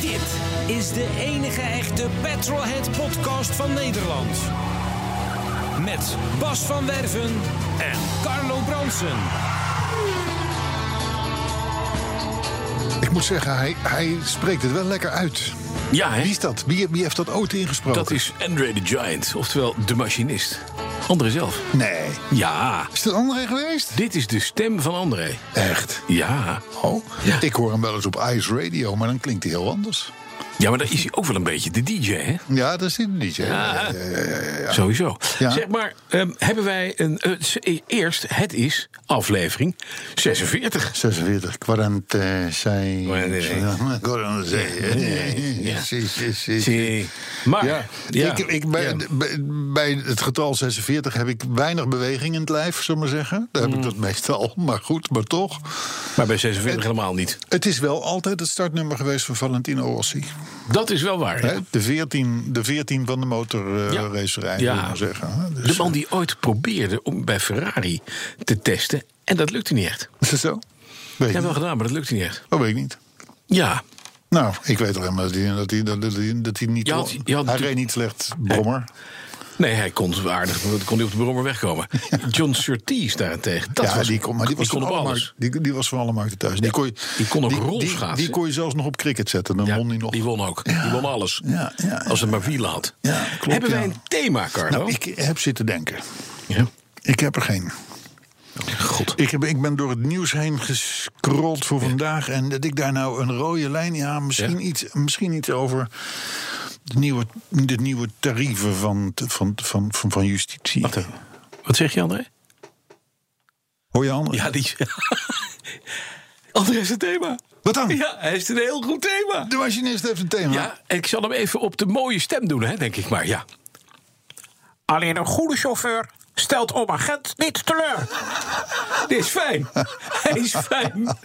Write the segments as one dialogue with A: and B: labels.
A: Dit is de enige echte Petrolhead podcast van Nederland. Met Bas van Werven en Carlo Bronsen.
B: Ik moet zeggen, hij, hij spreekt het wel lekker uit.
C: Ja,
B: Wie
C: hè?
B: is dat? Wie, wie heeft dat ooit ingesproken?
C: dat is Andre the Giant, oftewel de machinist. André zelf.
B: Nee.
C: Ja,
B: Is dat André geweest?
C: dit is de stem van André.
B: Echt?
C: Ja.
B: Oh,
C: Ja.
B: ik hoor hem wel eens op Ice Radio, maar dan klinkt hij heel anders.
C: Ja, maar daar is hij ook wel een beetje de DJ, hè?
B: Ja, dat is hij niet. hè? Eh, Ja, ja, ja, ja.
C: Sowieso.
B: Ja.
C: Zeg maar, ehm, hebben wij een... eh, s- eerst, het is aflevering 46.
B: 46, quarantaine.
C: Quarantaine.
B: Quarantaine. Ja, zie, zie, zie.
C: Zie. Maar,
B: Ja, Ik, ik, bij, bij, bij het getal 46 heb ik weinig beweging in het lijf, zullen we maar zeggen. Daar heb ik dat meestal, maar goed, maar toch.
C: maar bij 46 helemaal niet.
B: Het is wel altijd het startnummer geweest van Valentino Rossi.
C: Dat is wel waar. hè?
B: Hè? De, 14, de 14 van de
C: Ja.
B: motorracerij,
C: Ja.
B: zullen we maar zeggen. hè? Dus,
C: De man die ooit probeerde om bij Ferrari te testen... en dat lukte niet echt.
B: Is het zo? Weet
C: Ik
B: ik
C: heb wel
B: niet.
C: gedaan, maar dat lukte niet echt.
B: Dat weet ik niet.
C: Ja,
B: Nou, ik weet alleen maar dat hij, dat hij, dat hij, dat hij niet...
C: Je had- je had
B: hij
C: natuurlijk-
B: reed niet slecht, Brommer.
C: Nee, hij kon aardig, maar dat kon hij op de brommer wegkomen. John Surtees daarentegen, dat
B: ja,
C: was,
B: die kon, maar die was,
C: kon
B: van
C: op
B: alle
C: alles.
B: markten, die, die was van alle markten thuis. Die kon, je-
C: die kon ook
B: die,
C: rolschaatsen.
B: die kon je zelfs nog op cricket zetten, dan
C: Ja,
B: won hij nog.
C: Die won ook, die won alles.
B: Ja, ja, ja.
C: Als het maar wielen had.
B: Ja, klopt,
C: Hebben wij
B: ja.
C: een thema, Carlo?
B: nou, ik heb zitten denken.
C: Ja.
B: Ik heb er geen.
C: God.
B: Ik, heb, ik ben door het nieuws heen gescrolld voor vandaag. En dat ik daar nou een rode lijn... Ja, misschien,
C: Ja.
B: Iets, misschien iets over de nieuwe, de nieuwe tarieven van, van, van, van, van justitie.
C: Wacht even. Wat zeg je, André?
B: Hoor je handen?
C: Ja, die... André heeft een thema.
B: Wat dan?
C: Ja, hij heeft een heel goed thema.
B: De machinist heeft een thema.
C: Ja, ik zal hem even op de mooie stem doen, hè, denk ik maar, ja.
D: Alleen een goede chauffeur stelt oma Gent niet teleur.
C: Dit is fijn. Hij is fijn.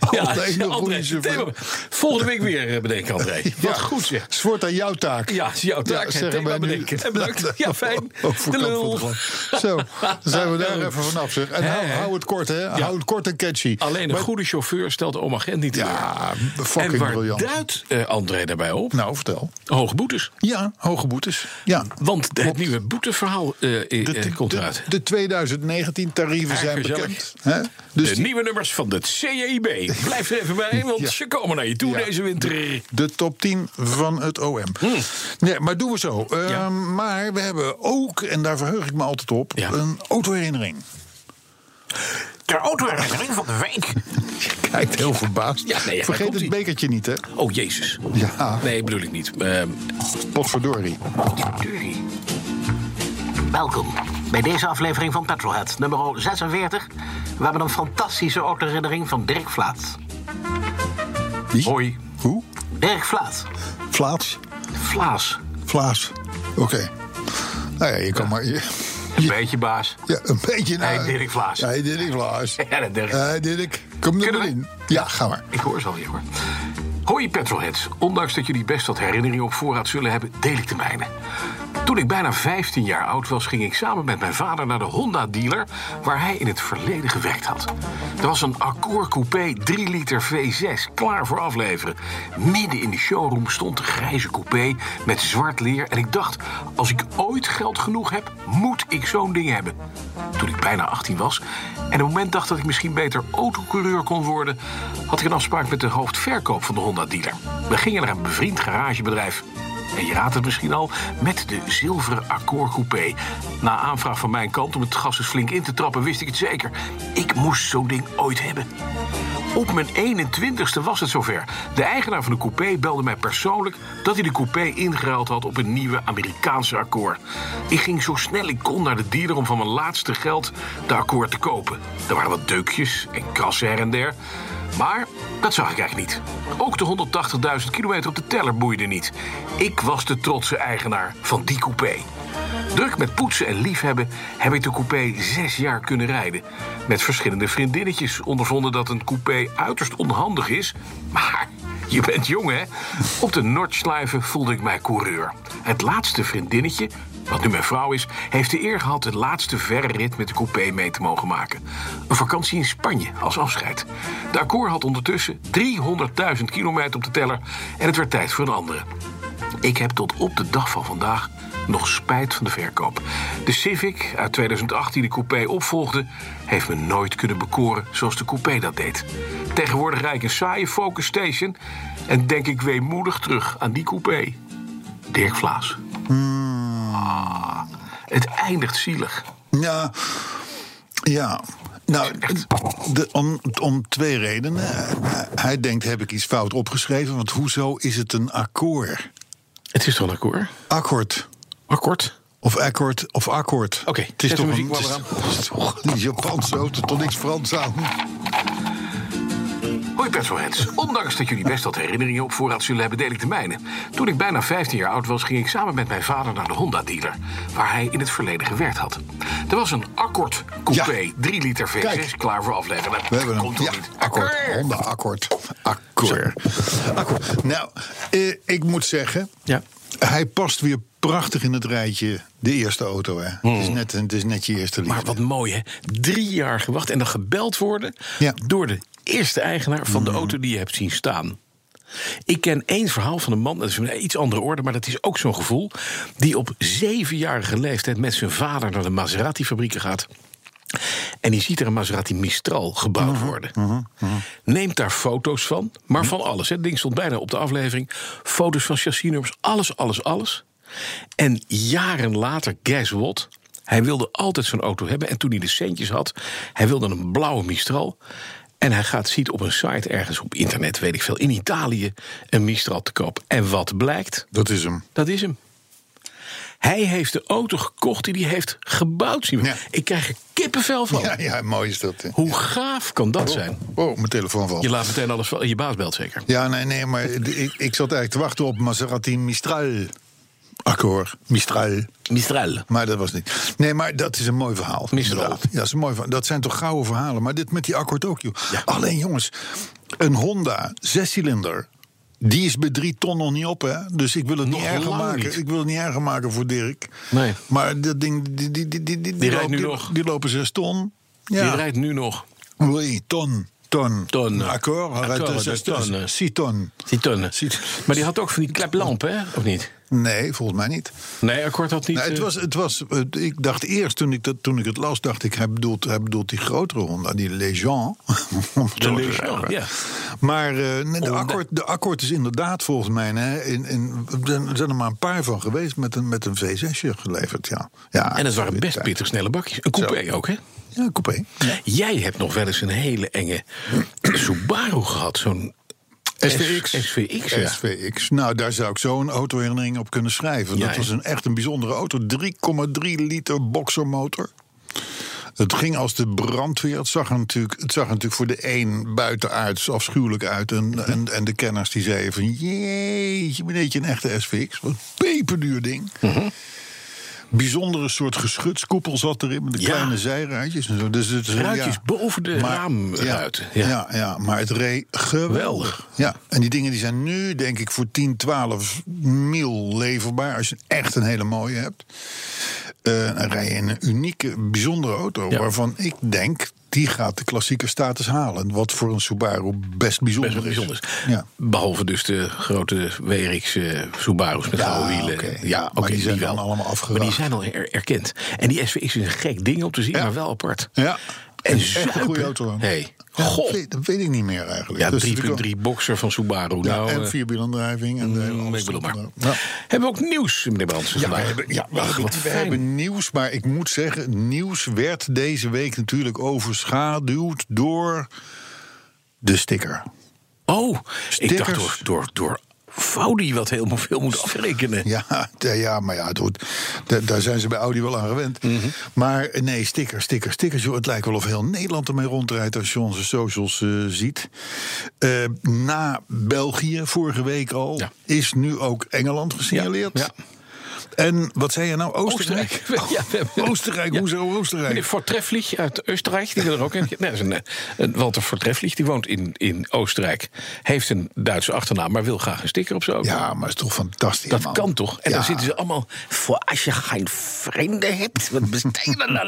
B: Altijd een goede chauffeur.
C: Volgende week weer eh, bedenken, André. Wat goed zeg.
B: Het wordt aan jouw taak.
C: Ja, het is jouw taak. Het
B: zeggen
C: thema
B: wij nu.
C: bedenken. En bedankt. Ja, fijn.
B: Overkant
C: De lul.
B: van de glas. Zo, dan zijn we daar even vanaf. Zeg. En
C: Hè,
B: hou,
C: hè?
B: hou het kort, hè? Hou het kort en catchy.
C: Alleen een
B: Maar-
C: goede chauffeur stelt oma Gent niet teleur.
B: Ja,
C: En
B: fucking
C: waar
B: briljant.
C: duidt eh, André daarbij op?
B: Nou, vertel.
C: Hoge boetes.
B: Ja, hoge boetes. Ja.
C: Want het nieuwe boeteverhaal eh, eh, eh, komt eruit.
B: de 2019 tarieven zijn
C: Erg gezellig.
B: bekend. Hè?
C: De
B: Dus die-
C: nieuwe nummers van het CIB. Blijf er even bij, want
B: Ja.
C: ze komen naar je toe
B: Ja.
C: deze winter.
B: De top 10 van het OM. Nee, maar doen we zo. Ehm,
C: Hm. Ja.
B: Maar we hebben ook, en daar verheug ik me altijd op,
C: Ja.
B: een autoherinnering.
D: De autoherinnering van de week.
B: Kijkt heel verbaasd.
C: Ja, nee, ja, daar
B: Vergeet
C: komt-ie.
B: het bekertje niet, hè?
C: Oh, jezus.
B: Ja,
C: Nee, bedoel ik niet. Ehm,
B: potverdorie.
E: Welkom bij deze aflevering van Petrolhead, nummer 46. We hebben een fantastische autoherinnering van Dirk Vlaat.
B: Wie?
C: hoi.
B: Hoe?
E: Dirk Vlaat.
B: Vlaats?
E: Vlaas.
B: Vlaas. Oké. Nou ja, je kan maar... je-
E: Een beetje baas.
B: ja, een beetje naar...
E: Hey, Dirk Vlaas.
B: Hey, Dirk Vlaas.
E: Ja, dat Dirk.
B: Hey, Dirk. Kom er
E: Kunnen we?
B: maar in. Ja, ga maar.
E: Ik hoor ze al, hoor. Hoi Petrolheads. Ondanks dat jullie best wat herinneringen op voorraad zullen hebben, deel ik de mijne. Toen ik bijna 15 jaar oud was, ging ik samen met mijn vader naar de Honda-dealer... waar hij in het verleden gewerkt had. Er was een Accord Coupé 3 liter V6 klaar voor afleveren. Midden in de showroom stond de grijze coupé met zwart leer... en ik dacht, als ik ooit geld genoeg heb, moet ik zo'n ding hebben. Toen ik bijna 18 was en op het moment dacht dat ik misschien beter autocoureur kon worden, had ik een afspraak met de hoofdverkoop van de Honda-dealer. We gingen naar een bevriend garagebedrijf. En je raadt het misschien al, met de zilveren Accord Coupé. Na aanvraag van mijn kant om het gas eens flink in te trappen, wist ik het zeker. Ik moest zo'n ding ooit hebben. Op mijn 21ste was het zover. De eigenaar van de coupé belde mij persoonlijk dat hij de coupé ingeruild had op een nieuwe Amerikaanse akkoord. Ik ging zo snel ik kon naar de dealer om van mijn laatste geld de akkoord te kopen. Er waren wat deukjes en krassen her en der. Maar dat zag ik eigenlijk niet. Ook de 180.000 kilometer op de teller boeide niet. Ik was de trotse eigenaar van die coupé. Druk met poetsen en liefhebben heb ik de coupé zes jaar kunnen rijden. Met verschillende vriendinnetjes ondervonden dat een coupé uiterst onhandig is. Maar je bent jong, hè? Op de Nordschleife voelde ik mij coureur. Het laatste vriendinnetje, wat nu mijn vrouw is, heeft de eer gehad de laatste verre rit met de coupé mee te mogen maken. Een vakantie in Spanje als afscheid. De Accor had ondertussen 300.000 kilometer op de teller en het werd tijd voor een andere. Ik heb tot op de dag van vandaag nog spijt van de verkoop. De Civic uit 2008 die de coupé opvolgde, heeft me nooit kunnen bekoren zoals de coupé dat deed. Tegenwoordig rijd ik een saaie Focus Station en denk ik weemoedig terug aan die coupé. Dirk Vlaas.
C: Hmm.
E: Ah, het eindigt zielig.
B: Ja, ja. Nou, de- om, om twee redenen. Hij denkt, heb ik iets fout opgeschreven? Want hoezo is het een akkoord?
C: Het is toch een akkoord?
B: Akkoord.
C: Akkoord?
B: Of akkoord. Of akkoord.
C: Oké,
B: het is
C: zet de
B: toch een...
C: muziek
B: Het is,
C: maar
B: het is toch een Japanse auto, toch niks Frans aan.
E: Hoi Petrolheads. Ondanks dat jullie best wat herinneringen op voorraad zullen hebben, deel ik de mijne. Toen ik bijna 15 jaar oud was, ging ik samen met mijn vader naar de Honda-dealer... waar hij in het verleden gewerkt had. Er was een Accord Coupé
B: Ja.
E: 3 liter V6
B: Kijk.
E: klaar voor afleggen. Dat
B: We hebben een
E: komt toch
B: ja,
E: niet?
B: akkoord. Honda akkoord. Akkoord. Akkoord. Nou, eh, ik moet zeggen,
C: Ja.
B: hij past weer prachtig in het rijtje. De eerste auto, hè. Het, is net, het is net je eerste liefde.
C: Hmm. Maar wat mooi, hè? Drie jaar gewacht en dan gebeld worden
B: Ja.
C: door de eerste eigenaar van de auto die je hebt zien staan. Ik ken één verhaal van een man, dat is een iets andere orde, maar dat is ook zo'n gevoel. Die op zevenjarige leeftijd met zijn vader naar de Maserati-fabrieken gaat. En die ziet er een Maserati Mistral gebouwd worden. Neemt daar foto's van, maar van alles. hè. Het ding stond bijna op de aflevering. Foto's van chassisnummers, alles, alles, alles. En jaren later, guess what? Hij wilde altijd zo'n auto hebben. En toen hij de centjes had, hij wilde een blauwe Mistral. En hij gaat, ziet op een site ergens op internet, weet ik veel, in Italië een Mistral te koop. En wat blijkt?
B: Dat is hem.
C: Dat is hem. Hij heeft de auto gekocht die hij heeft gebouwd. zien we.
B: Ja.
C: Ik krijg er kippenvel van.
B: Ja, ja, mooi is dat. hè.
C: Hoe gaaf kan dat zijn?
B: Oh, mijn telefoon valt.
C: Je laat meteen alles vallen. Je baas belt zeker.
B: Ja, nee, nee, maar de- ik, ik zat eigenlijk te wachten op Maserati Mistral. Akkoord, Mistral.
C: Mistral.
B: Maar dat was niet. Nee, maar dat is een mooi verhaal.
C: Mistral.
B: Inderdaad. Ja, dat, is een mooi verhaal. dat zijn toch gouden verhalen. Maar dit met die akkoord ook, joh. Alleen jongens, een Honda zescilinder. Die is bij drie ton nog niet op, hè? Dus ik wil het niet
C: Nog
B: erger
C: lang
B: maken.
C: niet.
B: Ik wil het niet erger maken voor Dirk.
C: Nee.
B: Maar dat ding, die, die, die, die, die, die
C: rijdt
B: loopt-
C: nu
B: die-
C: nog.
B: Die lopen zes ton.
C: Die
B: Ja.
C: rijdt nu nog.
B: Oui, ton. Ton.
C: Ton.
B: Akkoord. Hij rijdt
C: Akkoord,
B: zes
C: dat ton.
B: ton. Six ton.
C: Die tonnen.
B: Ziet-
C: Maar die had ook van die kleplamp, hè? Of niet?
B: Nee, volgens mij niet.
C: Nee, akkoord had niet.
B: Nee, het
C: eh,
B: was, het was, eh, ik dacht eerst, toen ik, dat, toen ik het las, dacht ik... hij bedoelt, hij bedoelt die grotere Honda, die Legend. om het zo te
C: Legend,
B: zeggen.
C: ja.
B: Maar eh, nee, de,
C: Honda.
B: akkoord, de akkoord is inderdaad volgens mij... Hè, in, in, er zijn- er zijn er maar een paar van geweest met een, met een V6'je geleverd, ja. ja.
C: En het waren best
B: Ja,
C: pittig snelle bakjes. Een coupé ook, hè?
B: Ja, coupé.
C: Jij hebt nog wel eens een hele enge Subaru gehad. Zo'n
B: SVX.
C: SVX, ja.
B: SVX. Nou, daar zou ik zo een autoherinnering op kunnen schrijven.
C: Ja,
B: dat
C: hè?
B: was een, echt een bijzondere auto. 3,3 liter boxermotor. Het ging als de brandweer. Het zag er natuurlijk, het zag er natuurlijk voor de een buitenaards afschuwelijk uit.
C: Mhm.
B: En, en, en de kenners die zeiden van... jeetje, meneertje, een echte SVX. Wat een peperduur ding.
C: Mhm.
B: Bijzondere soort geschutskoepel zat erin. Met de
C: Ja.
B: kleine zijruitjes. En zo. Dus het, is een-
C: Ruitjes boven de raamruiten,
B: Ja,
C: ja.
B: ja, Ah, ja, maar het reed geweldig.
C: Geweldig.
B: Ja, en die dingen die zijn nu, denk ik, voor 10, 12 mil leverbaar. Als je echt een hele mooie hebt. Eh dan rij je in een unieke, bijzondere auto.
C: Ja.
B: Waarvan ik denk, die gaat de klassieke status halen. Wat voor een Subaru best bijzonder
C: Best wel
B: is.
C: bijzonders.
B: Ja.
C: Behalve dus de grote WRX eh, Subaru's met
B: Ja,
C: gouden wielen.
B: oké.
C: Ja,
B: Ja,
C: oké,
B: maar die zijn
C: wel.
B: dan allemaal afgeraakt.
C: Maar die zijn al er- erkend. En die SVX is een gek ding om te zien,
B: Ja.
C: maar wel apart.
B: Ja,
C: En
B: echt een goede
C: zuipen.
B: auto. dan.
C: Hey,
B: Ja,
C: goh.
B: dat, weet, dat weet ik niet meer eigenlijk.
C: Ja,
B: Dat is Dus natuurlijk
C: 3.3 boxer van Subaru.
B: wel-
C: nou,
B: Ja, en
C: eh,
B: vierwielaandrijving. En de hele
C: mm, ik
B: alles
C: bedoel maar.
B: erop en erop. Ja.
C: Hebben we ook nieuws, meneer Brandsen?
B: Ja, we
C: vandaag?
B: hebben, ja, we,
C: Ach,
B: hebben,
C: wat
B: we
C: fijn.
B: hebben nieuws, maar ik moet zeggen... nieuws werd deze week natuurlijk overschaduwd door de sticker.
C: Oh, ik
B: Stickers.
C: dacht Oh, door, door, door Audi wat helemaal veel moet afrekenen.
B: Ja, t- ja maar ja, het wordt, d- daar zijn ze bij Audi wel aan gewend.
C: Mhm.
B: Maar eh, nee, stickers, stickers, stickers. Joh, het lijkt wel of heel Nederland ermee rondrijdt als je onze socials eh, ziet. Eh, na België, vorige week al,
C: Ja.
B: is nu ook Engeland gesignaleerd.
C: Ja,
B: En wat zei je nou? Oostenrijk?
C: Oostenrijk. Ja, we hebben-
B: Oostenrijk,
C: Ja.
B: hoezo Oostenrijk?
C: Meneer Voortrefflich uit Oostenrijk, die wil er ook in. Nee, dat is een, eh, een Walter Voortrefflich, die woont in, in Oostenrijk. Heeft een Duitse achternaam, maar wil graag een sticker op zijn auto.
B: Ja, maar is toch fantastisch,
C: Dat
B: man.
C: kan toch? En
B: Ja.
C: dan zitten ze allemaal voor als je geen vrienden hebt. Wat besteed je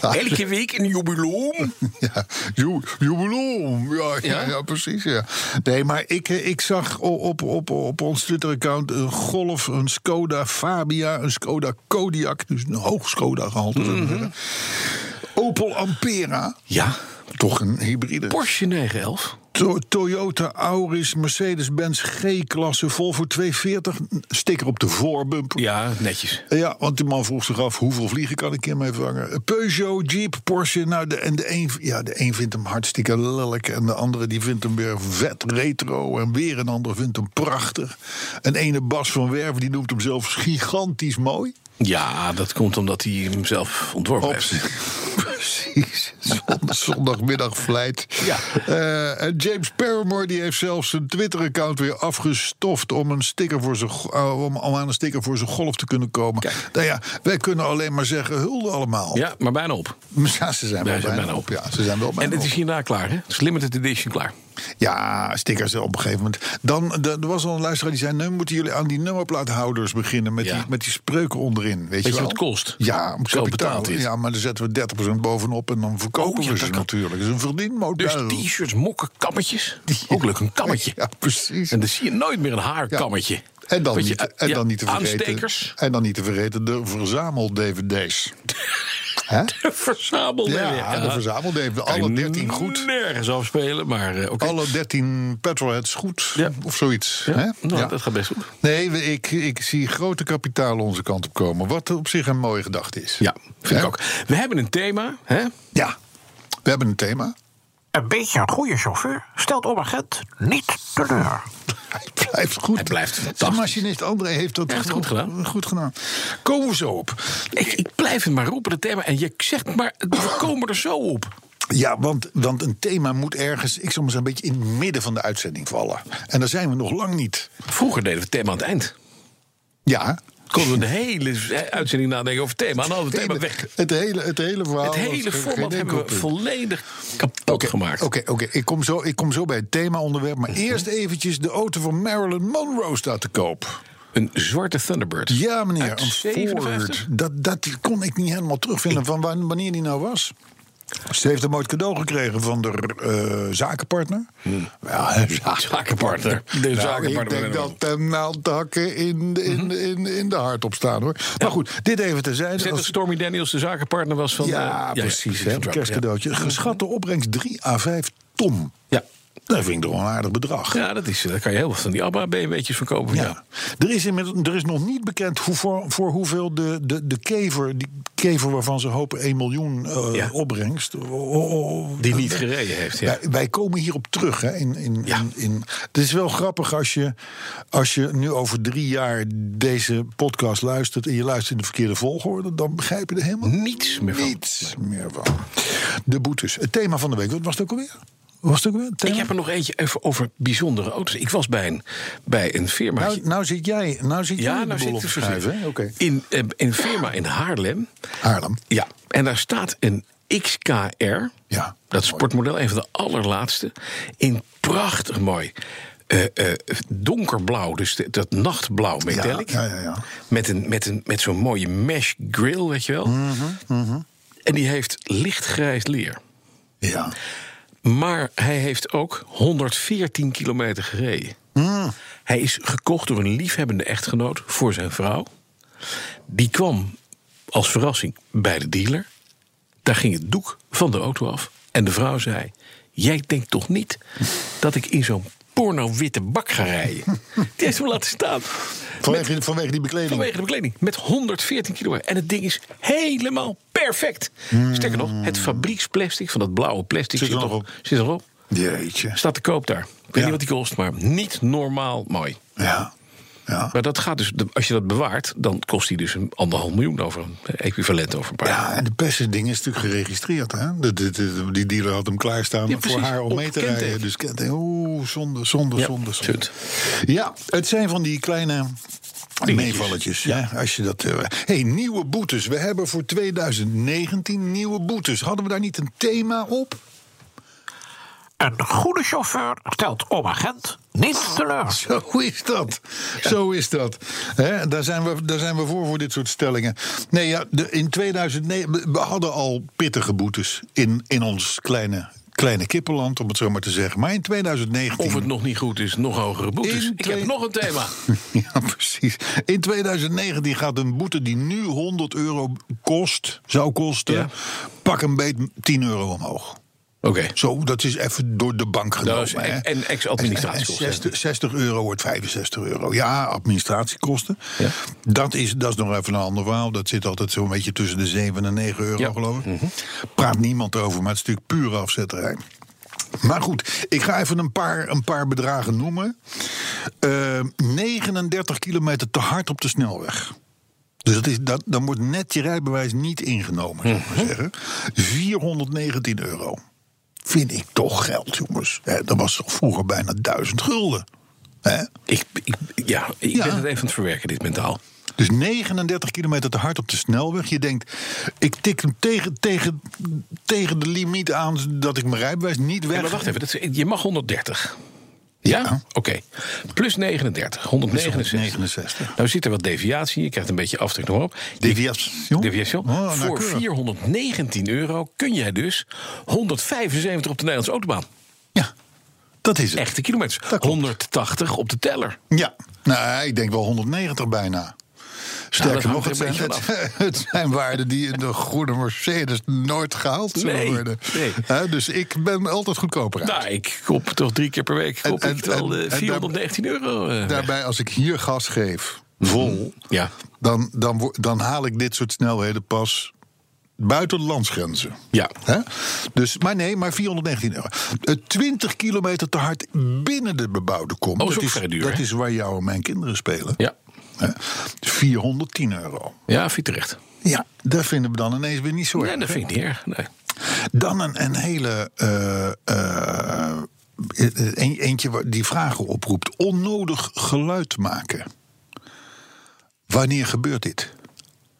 C: dan? Elke week een jubileum.
B: Ja, ju- jubileum. Ja, ja?
C: Ja?
B: ja, precies. Ja. Nee, maar ik, eh, ik zag o- op, op, op ons Twitter-account een Golf, een Skoda Fabia, een Skoda Kodiak. Dus een hoog Skoda gehalte. zullen we
C: Mhm.
B: zeggen. Opel Ampera.
C: Ja,
B: Toch een hybride.
C: Porsche 911.
B: To- Toyota Auris, Mercedes-Benz G-klasse, Volvo 240. Sticker op de voorbumper.
C: Ja, netjes.
B: Ja, want die man vroeg zich af hoeveel vliegen kan ik hiermee vangen. Peugeot, Jeep, Porsche. Nou, de, en de een, ja, de een vindt hem hartstikke lelijk. En de andere die vindt hem weer vet retro. En weer een ander vindt hem prachtig. En ene Bas van Werven die noemt hem zelfs gigantisch mooi.
C: Ja, dat komt omdat hij hem zelf ontworpen
B: Op
C: heeft.
B: Precies. Zond- Zondagmiddag vlijt.
C: Ja.
B: Eh, en James Paramore die heeft zelfs zijn Twitter-account weer afgestoft om, een sticker voor zijn, go- eh, om, om aan een sticker voor zijn golf te kunnen komen.
C: Kijk.
B: Nou ja, wij kunnen alleen maar zeggen hulde allemaal.
C: Ja, maar bijna op.
B: Ja, ze zijn
C: Wij
B: wel bijna,
C: zijn bijna
B: op.
C: op.
B: Ja, ze zijn wel bijna
C: En het
B: op.
C: is hierna klaar, hè? Het is limited edition klaar.
B: Ja, stickers op een gegeven moment. Dan, de- er was al een luisteraar die zei... nu moeten jullie aan die nummerplaathouders beginnen... met,
C: Ja.
B: die, met die spreuken onderderin. Weet,
C: je
B: wel?
C: wat het kost?
B: Ja, om kapitaal.
C: Zo betaalt dit.
B: Ja, maar dan zetten we 30% bovenop en dan verkopen
C: Oh, ja,
B: we ze
C: dat kan.
B: natuurlijk. Dat is een
C: Dus
B: verdienmodel.
C: t-shirts, mokken, kammetjes. Ook leuk, een kammetje.
B: Ja, precies.
C: En dan zie je nooit meer een haarkammetje.
B: En dan,
C: Want
B: niet,
C: je- eh,
B: en
C: ja,
B: dan niet te vergeten...
C: Aanstekers,
B: En dan niet te vergeten de verzamel-dvd's. Hè?
C: verzamel.
B: Ja, de verzamel-dvd's. Alle 13 goed.
C: Nergens afspelen, maar eh, oké.
B: Alle 13 petrolheads goed.
C: Ja.
B: Of zoiets.
C: Ja,
B: Hè?
C: nou,
B: Ja.
C: dat gaat best goed.
B: Nee, we- ik, ik zie grote kapitalen onze kant op komen. Wat op zich een mooie gedachte is.
C: Ja, vind ik
B: Hè?
C: ook. We hebben een thema, hè?
B: Ja, we hebben een thema.
D: Een beetje een goede chauffeur stelt Omagent niet teleur.
B: Hij blijft goed.
C: Hij blijft
B: De
C: fantastisch.
B: machinist André heeft dat
C: Hij heeft
B: gewoon
C: goed gedaan.
B: Goed gedaan. Komen we zo op.
C: Ik, ik blijf het maar roepen, dat thema. En je zegt maar, we komen er zo op.
B: Ja, want, want een thema moet ergens, ik zal maar zeggen, een beetje in het midden van de uitzending vallen. En daar zijn we nog lang niet.
C: Vroeger deden we het thema aan het eind.
B: Ja.
C: Konden we de hele uitzending nadenken over het thema. En dan hadden we het thema weg.
B: Het hele, het hele verhaal.
C: Het
B: was
C: hele
B: geen- geen
C: format hebben
B: enkel
C: we
B: punt.
C: volledig kapot
B: Oké,
C: gemaakt.
B: Oké, oké. Ik kom zo, ik kom zo bij het themaonderwerp. Maar eerst eventjes de auto van Marilyn Monroe staat te koop.
C: Een zwarte Thunderbird.
B: Ja, meneer.
C: Uit
B: een
C: 57?
B: Ford. Dat, dat kon ik niet helemaal terugvinden van wa- wanneer die nou was. Ze heeft hem ooit cadeau gekregen van de eh, zakenpartner. Ja, een
C: Zakenpartner.
B: Hmm.
C: De
B: Nou,
C: zakenpartner.
B: Ik denk dat de naaldhakken in, de- in, in, in de hart op staan hoor. Maar goed, dit even
C: Zet
B: terzijde.
C: dat
B: Als-
C: Stormy Daniels de zakenpartner was van... eh,
B: ja, precies. hè,
C: Trump,
B: een
C: ja.
B: kerstcadeautje. Geschatte opbrengst 3 à 5 ton.
C: Ja.
B: Dat vind ik toch wel een aardig bedrag.
C: Ja, dat is, eh, daar kan je heel wat van die abba BMW'tjes van kopen. Oh, Ja.
B: Ja. Er, is inmiddels, er is nog niet bekend hoe voor, voor hoeveel de, de, de kever, die kever waarvan ze hopen 1 miljoen eh,
C: Ja.
B: opbrengst. oh, oh, oh,
C: Die niet gereden heeft, ja.
B: Wij, wij komen hierop terug. Hè, in, in,
C: Ja.
B: in, in- het is wel grappig als je, als je nu over drie jaar deze podcast luistert. en je luistert in de verkeerde volgorde. dan begrijp je er helemaal
C: Niets meer van.
B: niets meer van. De boetes. Het thema van de week, wat was het ook alweer? Wat Was het ook alweer? Het
C: Ik
B: thema?
C: heb er nog eentje even over bijzondere auto's. Ik was bij een, bij een firma.
B: nou, nou zit jij, nou zit jij
C: ja,
B: de boel
C: nou zit ik
B: op
C: te
B: te schrijven. hè?
C: verzinnen.
B: Oké.
C: In eh, een firma in Haarlem.
B: Haarlem.
C: Ja, en daar staat een XKR.
B: Ja.
C: Dat sportmodel, een van de allerlaatste. In prachtig mooi eh, eh, donkerblauw, dus de- dat nachtblauw metallic.
B: Ja, ja, ja, ja.
C: Met, een, met, een, met zo'n mooie mesh grill, weet je wel.
B: Mhm,
C: En die heeft lichtgrijs leer.
B: Ja.
C: Maar hij heeft ook 114 kilometer gereden.
B: Hmm.
C: Hij is gekocht door een liefhebbende echtgenoot voor zijn vrouw. Die kwam als verrassing bij de dealer. Daar ging het doek van de auto af. En de vrouw zei: Jij denkt toch niet dat ik in zo'n porno-witte bak ga rijden? Die heeft hem laten staan.
B: Vanwege, vanwege die bekleding.
C: Vanwege de bekleding. Met 114 kilo. En het ding is helemaal perfect. Sterker nog, het fabrieksplastic van dat blauwe plastic
B: Hmm. Zit
C: zit,
B: er nog
C: nog-
B: op.
C: zit erop.
B: Jeetje.
C: Staat te koop daar. Ik weet
B: Ja.
C: niet wat die kost, maar niet normaal mooi.
B: Ja. Ja.
C: Maar dat gaat dus, als je dat bewaart, dan kost die dus een anderhalf miljoen over een equivalent over een paar jaar.
B: ja, en het beste ding is natuurlijk geregistreerd. Hè? De, de- de- die dealer had hem klaarstaan
C: Ja,
B: voor
C: precies.
B: haar om
C: Op
B: mee te
C: kenteken.
B: rijden. Dus kenteken. Oeh, zonde, zonde,
C: Ja,
B: zonde, zonde.
C: zut.
B: Ja, het zijn van die kleine meevalletjes. Ja. Als je dat, eh, hey, nieuwe boetes. We hebben voor 2019 nieuwe boetes. Hadden we daar niet een thema op?
D: Een goede chauffeur stelt omagent niet teleur.
B: Zo is dat. Zo is dat. Hè, daar, zijn we, daar zijn we voor, voor dit soort stellingen. Nee, ja, de, in 2009, we- we hadden al pittige boetes in, in ons kleine, kleine kippenland, om het zo maar te zeggen. Maar in 2019...
C: Of het nog niet goed is, nog hogere boetes.
B: In
C: Ik
B: twee-
C: heb nog een thema.
B: Ja, precies. In 2019 gaat een boete die nu 100 euro kost, zou kosten,
C: Ja.
B: pak een beet 10 euro omhoog.
C: Oké.
B: Zo, dat is even door de bank genomen.
C: Dat is e-
B: hè.
C: en- en ex-administratiekosten.
B: En 60, 60 euro wordt 65 euro. Ja, administratiekosten.
C: Ja.
B: Dat, is, dat is nog even een ander verhaal. Dat zit altijd zo'n beetje tussen de 7 en 9 euro,
C: Ja. Mhm.
B: geloof ik. Praat niemand over, maar het is natuurlijk pure afzetterij. Maar goed, ik ga even een paar, een paar bedragen noemen. Eh, 39 kilometer te hard op de snelweg. Dus dat is, dat, dan wordt net je rijbewijs niet ingenomen, zou ik
C: Mhm.
B: maar zeggen. 419 euro. Vind ik toch geld, jongens. Hè, dat was toch vroeger bijna 1000 gulden. Hè?
C: Ik, ik, ja, ik
B: Ja.
C: ben het even aan het verwerken, dit mentaal.
B: Dus 39 kilometer te hard op de snelweg. Je denkt, ik tik hem tegen, tegen, tegen de limiet aan dat ik mijn rijbewijs niet weg...
C: Ja, maar wacht even, dat is- je mag 130. Ja?
B: Ja.
C: Oké. Plus 39, 169.
B: 169.
C: Nou zit er wat deviatie in, je kkrijgt een beetje aftrek nog op. Je-
B: Deviation?
C: Deviatie.
B: Oh,
C: Voor
B: nauwkeurig.
C: 419 euro kun jij dus 175 op de Nederlandse autobaan.
B: Ja, dat is het.
C: Echte kilometers.
B: Dat klopt.
C: 180 op de teller.
B: Ja, nou, ik denk wel 190 bijna. Sterker
C: Nou, hangt
B: nog,
C: er
B: het
C: een
B: zijn,
C: beetje
B: het, het zijn waarden die in de goede Mercedes nooit gehaald zullen
C: Nee,
B: worden.
C: nee.
B: Hè, dus ik ben altijd goedkoper uit.
C: Nou, ik koop toch drie keer per week koop
B: En-
C: ik
B: en-
C: wel
B: en-
C: eh,
B: en
C: 419 euro. eh,
B: Daarbij, als ik hier gas geef, vol,
C: Ja.
B: dan, dan, wo- dan haal ik dit soort snelheden pas buiten de landsgrenzen.
C: Ja.
B: Hè? Dus, maar nee, maar 419 euro. Eh, 20 kilometer te hard binnen de bebouwde kom.
C: Oh, is
B: dat
C: ook
B: is,
C: vrij duur,
B: dat
C: hè?
B: is waar jou en mijn kinderen spelen.
C: Ja.
B: Hè? 410 euro.
C: ja, vind je terecht.
B: Ja, daar vinden we dan ineens weer niet zo
C: Nee,
B: erg,
C: dat
B: hè?
C: vind ik niet erg. Nee.
B: Dan een, een hele. eh, eh, een- eentje waar- die vragen oproept. Onnodig geluid maken. Wanneer gebeurt dit?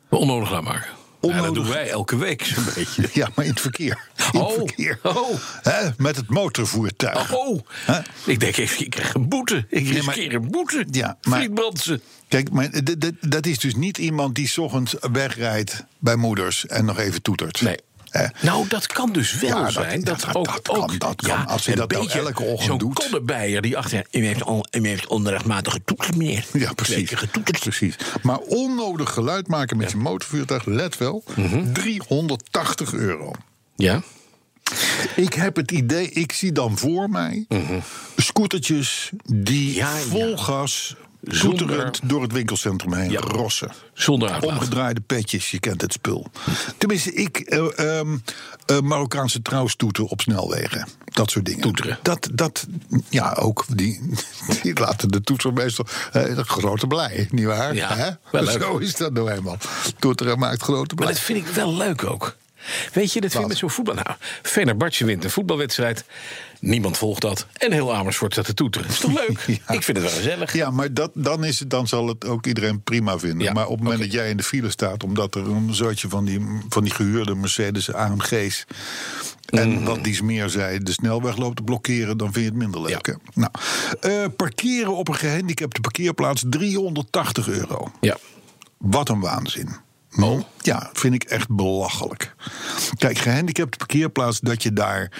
C: Onnodig laat maken. Ja,
B: Onnodig.
C: dat doen wij elke week zo'n beetje.
B: Ja, maar in het verkeer. In
C: Oh,
B: het verkeer.
C: oh.
B: Hè, met het motorvoertuig.
C: Oh,
B: Hè?
C: ik denk, ik, ik krijg een boete. Ik riskeer
B: maar-
C: een boete.
B: Ja, maar-
C: Friedbrandsen.
B: Kijk, maar d- d- dat is dus niet iemand die 's ochtends wegrijdt bij moeders en nog even toetert.
C: Nee.
B: Hè?
C: Nou, dat kan dus wel
B: Ja, dat-
C: zijn. Dat,
B: ja, dat-
C: ook,
B: dat kan,
C: ook-
B: dat kan. Als je
C: een
B: dat nou elke ochtend
C: zo'n
B: doet.
C: Koddebijer die achter... U heeft, on, u heeft onrechtmatig getoeterd, meneer.
B: Ja, precies. precies. Maar onnodig geluid maken met je motorvoertuig, let wel,
C: Mhm.
B: 380 euro.
C: Ja?
B: Ik heb het idee, ik zie dan voor mij scootertjes die
C: Mhm. Ja, ja.
B: vol gas
C: Zonder-
B: toeterend door het winkelcentrum heen
C: Ja.
B: rossen.
C: Zonder uitlaat.
B: Omgedraaide petjes, je kent het spul. Tenminste, ik eh, ehm, eh, Marokkaanse trouwstoeten op snelwegen. Dat soort dingen.
C: Toeteren.
B: Dat, dat ja, ook. Die, die laten de toeter meestal eh, grote blij, nietwaar?
C: Ja,
B: Hè?
C: wel leuk.
B: Zo is dat nou eenmaal. Toeteren maakt grote blij.
C: Maar dat vind ik wel leuk ook. Weet je, dat vind ik
B: Wat?
C: met zo'n voetbal... Nou, Fenerbahce wint een voetbalwedstrijd. Niemand volgt dat. En heel Amersfoort staat te toeteren. Is toch leuk? Ik vind het wel gezellig.
B: Ja, maar dat, dan, is het, dan zal het ook iedereen prima vinden.
C: Ja,
B: maar op het moment dat jij in de file staat, omdat er een zootje van die, van die gehuurde Mercedes AMG's. En
C: Mhm.
B: wat dies meer zei, de snelweg loopt te blokkeren, dan vind je het minder leuk.
C: Ja.
B: hè? Nou, eh, parkeren op een gehandicapte parkeerplaats 380 euro.
C: Ja.
B: Wat een waanzin. Ja, vind ik echt belachelijk. Kijk, gehandicapte parkeerplaats, dat je daar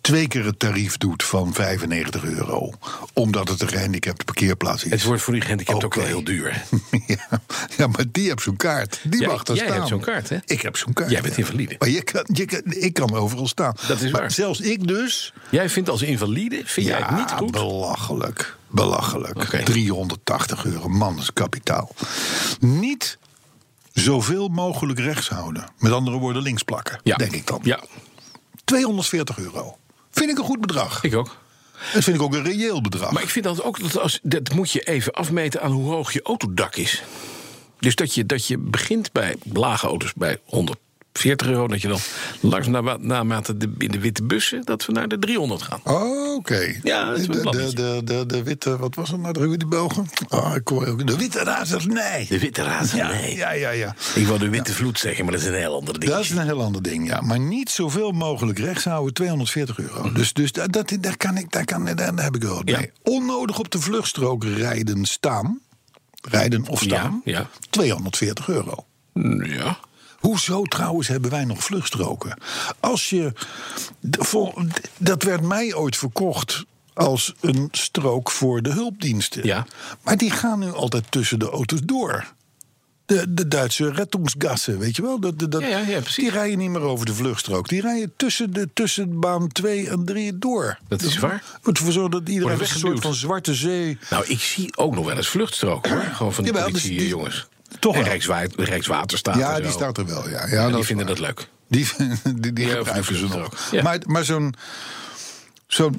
B: twee keer het tarief doet van 95 euro. Omdat het een gehandicapte parkeerplaats is.
C: Het wordt voor die gehandicapten ook
B: Oké.
C: wel heel duur.
B: ja, ja, maar die heeft zo'n kaart. Die
C: Jij-
B: mag daar
C: jij
B: staan.
C: hebt zo'n kaart, hè?
B: Ik heb zo'n kaart.
C: Jij bent
B: ja.
C: invalide.
B: Maar je kan, je kan, ik kan overal staan.
C: Dat is
B: maar
C: waar.
B: zelfs ik dus.
C: Jij vindt als invalide, vind jij het niet goed?
B: belachelijk. Belachelijk.
C: Oké.
B: 380 euro, man, dat is kapitaal. Niet zoveel mogelijk rechts houden. Met andere woorden, links plakken, denk ik dan.
C: Ja,
B: 240 euro. Vind ik een goed bedrag.
C: ik ook.
B: Dat vind ik ook een reëel bedrag.
C: Maar ik vind dat ook, dat, als, dat moet je even afmeten aan hoe hoog je autodak is. Dus dat je, dat je begint bij lage auto's bij 140 euro. Dat je dan langs na, naarmate de, in de witte bussen, dat we naar de 300 gaan.
B: Oh, Oké.
C: Ja, dat is
B: de,
C: een
B: de,
C: bladertje.
B: de, de, de witte, wat was het nou? De die Belgen? Ah, ik hoor ook. De witte razers, nee.
C: De witte razen,
B: ja,
C: nee.
B: ja, ja, ja.
C: Ik wou de witte vloed zeggen, maar dat is een heel ander ding.
B: Dat is een heel ander ding, ja. Maar niet zoveel mogelijk rechts houden, 240 euro. Dus, dus dat, dat, daar, kan ik, daar, kan, daar, daar heb ik wel wat
C: Mhm. Ja.
B: mee. Onnodig op de vluchtstrook rijden, staan. Rijden of staan.
C: Ja, ja.
B: 240 euro.
C: Ja.
B: Hoezo trouwens hebben wij nog vluchtstroken? Als je. de- voor- Dat werd mij ooit verkocht als een strook voor de hulpdiensten.
C: Ja.
B: Maar die gaan nu altijd tussen de auto's door. De, de Duitse rettungsgassen, weet je wel? Dat, dat, dat-
C: Ja, ja, ja, precies.
B: Die rijden niet meer over de vluchtstrook. Die rijden tussen, de, tussen baan 2 en 3 door.
C: Dat is waar.
B: Moet ervoor zorgen dat iedereen een
C: weggeduwd.
B: soort van zwarte zee.
C: Nou, ik zie ook nog wel eens vluchtstroken. hoor. Gewoon van die
B: Jawel, dus
C: politie,
B: die-
C: jongens.
B: Toch
C: en
B: wel.
C: Rijkswa- Rijkswaterstaat. en
B: Ja,
C: zo.
B: die staat er wel. Ja, ja,
C: En
B: dat
C: die
B: is
C: vinden
B: waar.
C: dat leuk.
B: Die, die, die
C: Ja,
B: gebruiken ze
C: vliegtuig
B: nog.
C: ook. Ja.
B: Maar, maar zo'n. Zo,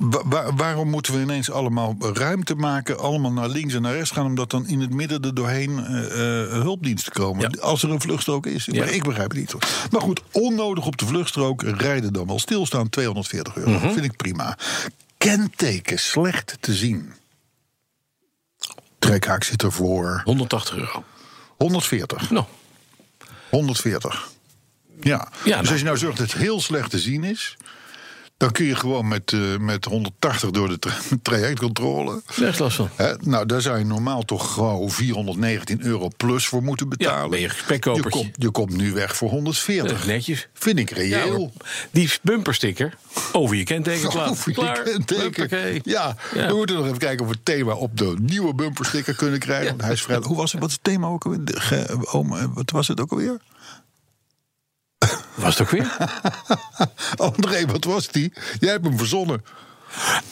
B: waarom moeten we ineens allemaal ruimte maken, allemaal naar links en naar rechts gaan, omdat dan in het midden er doorheen eh, eh, hulpdiensten komen?
C: Ja.
B: Als er een vluchtstrook is. Maar ik begrijp het niet hoor. Maar goed, onnodig op de vluchtstrook rijden dan wel stilstaan, 240 euro.
C: Mhm.
B: Vind ik prima. Kenteken slecht te zien. Trekhaak zit ervoor.
C: 180 euro.
B: 140.
C: Nou,
B: 140. Ja.
C: Ja,
B: dus
C: nou.
B: als je nou zorgt dat het heel slecht te zien is. Dan kun je gewoon met, eh, met 180 door de tra- trajectcontrole.
C: slechts last van.
B: Hè? Nou, daar zou je normaal toch gewoon 419 euro plus voor moeten betalen.
C: ben je spekkopertje.
B: Je komt, je komt nu weg voor 140.
C: Eh, netjes.
B: Vind ik
C: Ja,
B: reëel.
C: hoor. die bumpersticker over Oh, je kentekenplaat.
B: Over Oh, je
C: Klaar.
B: kenteken.
C: Huppakee.
B: Ja,
C: Ja.
B: we moeten nog even kijken of we het thema op de nieuwe bumpersticker kunnen krijgen. Want hij is vrij... Hoe was het? Wat is het thema ook alweer? De- ge- oom, eh, wat was het ook alweer?
C: Was het ook weer?
B: André, wat was die? Jij hebt hem verzonnen.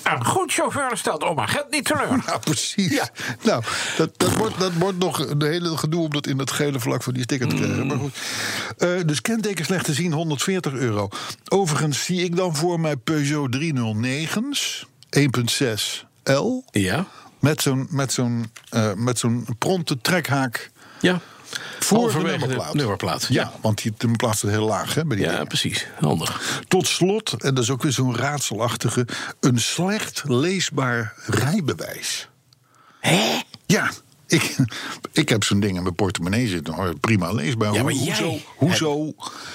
D: Een goed chauffeur stelt oma Gent niet teleur.
B: Ja, precies. Nou, dat, dat, wordt, dat wordt nog een hele gedoe om dat in dat gele vlak van die sticker te krijgen. Maar goed. Eh, dus kenteken slecht te zien, 140 euro. Overigens zie ik dan voor mij Peugeot 309's, 1.6 L,
C: Ja.
B: met zo'n met zo'n eh, met zo'n pronte trekhaak
C: Ja.
B: voor de
C: Halverwege
B: nummerplaat.
C: nummerplaat.
B: Ja, want die nummerplaat staat heel laag hè, bij die
C: Ja,
B: dingen.
C: precies. Handig.
B: Tot slot, en dat is ook weer zo'n raadselachtige, een slecht leesbaar rijbewijs. Hè? Ja. Ik, ik heb zo'n ding in mijn portemonnee zitten, hoor. prima leesbaar.
C: Ja,
B: Hoe-
C: maar jij
B: hoezo
C: hebt-
B: hoezo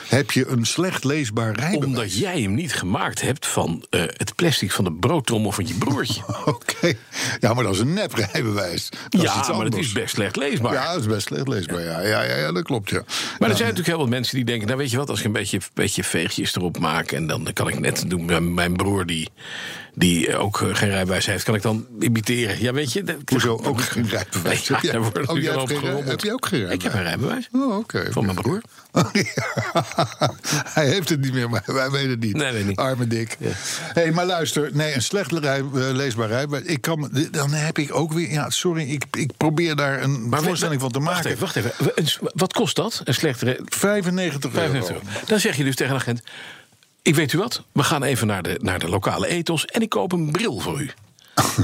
B: heb je een slecht leesbaar rijbewijs?
C: Omdat jij hem niet gemaakt hebt van eh, het plastic van de broodtrommel van je broertje.
B: Oké, ja, maar dat is een nep rijbewijs. Dat is
C: ja,
B: iets
C: maar het
B: anders.
C: is best slecht leesbaar.
B: Ja, dat is best slecht leesbaar, ja. Ja, ja, ja dat klopt, ja.
C: Maar
B: Ja.
C: er zijn natuurlijk heel wat mensen die denken: Nou, weet je wat, als ik een beetje, beetje veegjes erop maak. en dan kan ik net doen. Mijn, mijn broer, die, die ook eh, geen rijbewijs heeft, kan ik dan imiteren. Ja, weet je. dat-
B: Hoezo ook geen rijbewijs?
C: Ja,
B: Heb jij-
C: daar wordt
B: oh,
C: natuurlijk
B: jij
C: al
B: hebt
C: op
B: geen rij-
C: gerommeld.
B: heb je ook geen
C: Ik heb een rijbewijs.
B: Oh, oké.
C: Van mijn broer.
B: Oh, ja. Hij heeft het niet meer, maar wij weten het niet.
C: Nee, weet niet.
B: Arme dik. hey, maar luister, nee, een slecht rij, eh, leesbaar rijbewijs. Ik kan, dan heb ik ook weer. Ja, sorry, ik, ik probeer daar een
C: Maar we-
B: voorstelling van te
C: wacht
B: maken.
C: Even, wacht even. Wa- een s- Wat kost dat? Een slecht re-
B: 95,
C: 35
B: euro.
C: euro. Dan zeg je dus tegen een agent: Ik weet u wat, we gaan even naar de, naar de lokale ethos. en ik koop een bril voor u.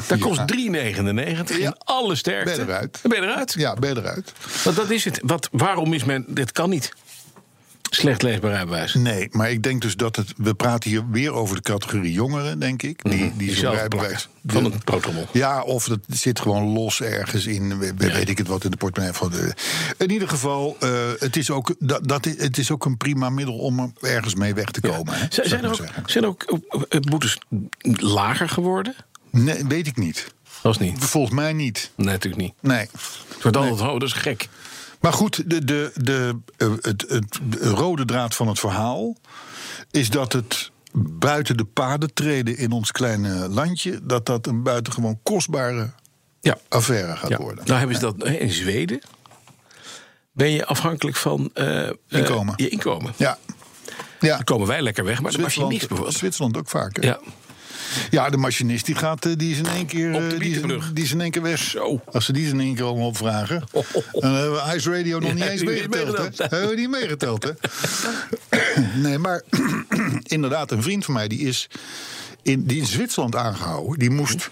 C: Dat kost 3,99
B: Ja.
C: en alle sterkte.
B: Ben je eruit.
C: Dan ben je eruit.
B: Ja, ben je eruit.
C: Want dat is het. Wat, waarom is men. Dit kan niet. Slecht leesbaar rijbewijs.
B: Nee, maar ik denk dus dat het. We praten hier weer over de categorie jongeren, denk ik. Die, die,
C: die
B: zo'n
C: zelf
B: rijbewijs.
C: Mhm. plakken van
B: de-
C: een broodtrommel.
B: Ja, of dat zit gewoon los ergens in. we- we- Weet ik het wat in de portemonnee van de. In ieder geval, eh, het, is ook, dat, dat, is- het is ook een prima middel om er ergens mee weg te komen. hè, zou
C: Zijn,
B: ik
C: zijn, er
B: maar
C: ook,
B: zeggen.
C: zijn er ook eh, boetes lager geworden?
B: Nee, weet ik niet.
C: Dat is niet.
B: Volgens mij niet.
C: Nee, natuurlijk niet.
B: Nee.
C: Het wordt altijd, oh, dat is gek.
B: Maar goed, de, de, de, eh, het, het rode draad van het verhaal is dat het buiten de paden treden in ons kleine landje, dat dat een buitengewoon kostbare
C: Ja.
B: affaire gaat
C: ja.
B: worden.
C: Nou hebben ze dat hè, in Zweden. Ben je afhankelijk van eh, eh,
B: Inkomen.
C: je inkomen.
B: Ja. Ja.
C: Dan komen wij lekker weg, maar dan mag je niks bijvoorbeeld.
B: Zwitserland ook vaak. hè?
C: Ja.
B: Ja, de machinist die gaat, eh, die is in één keer,
C: Op
B: eh,
C: de
B: die, is,
C: bietenbrug.
B: die is in één keer weg.
C: Zo.
B: Als ze die eens in één keer allemaal opvragen,
C: Ho, ho, ho.
B: dan hebben we Ice Radio nog
C: Ja,
B: niet
C: die
B: eens
C: is
B: meegeteld. hè?
C: meegeteld.
B: Hebben we niet meegeteld, hè? nee, maar inderdaad, een vriend van mij die is in, die in Zwitserland aangehouden. Die moest,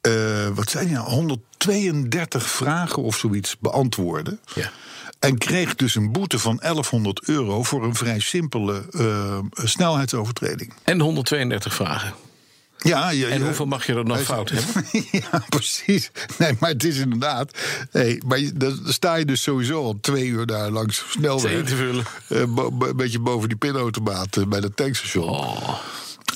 B: eh, wat zijn nou, 132 vragen of zoiets beantwoorden.
C: Ja.
B: En kreeg dus een boete van 1100 euro voor een vrij simpele eh, snelheidsovertreding.
C: En 132 vragen.
B: Ja, ja,
C: En
B: ja.
C: hoeveel mag je er dan
B: Hij-
C: fout hebben?
B: ja, precies. Nee, maar het is inderdaad. Hey, maar je- dan sta je dus sowieso al twee uur daar langs de
C: Twee
B: snelweg.
C: te vullen.
B: Eh, bo- bo- een beetje boven die pinautomaat eh, bij dat tankstation.
C: Oh.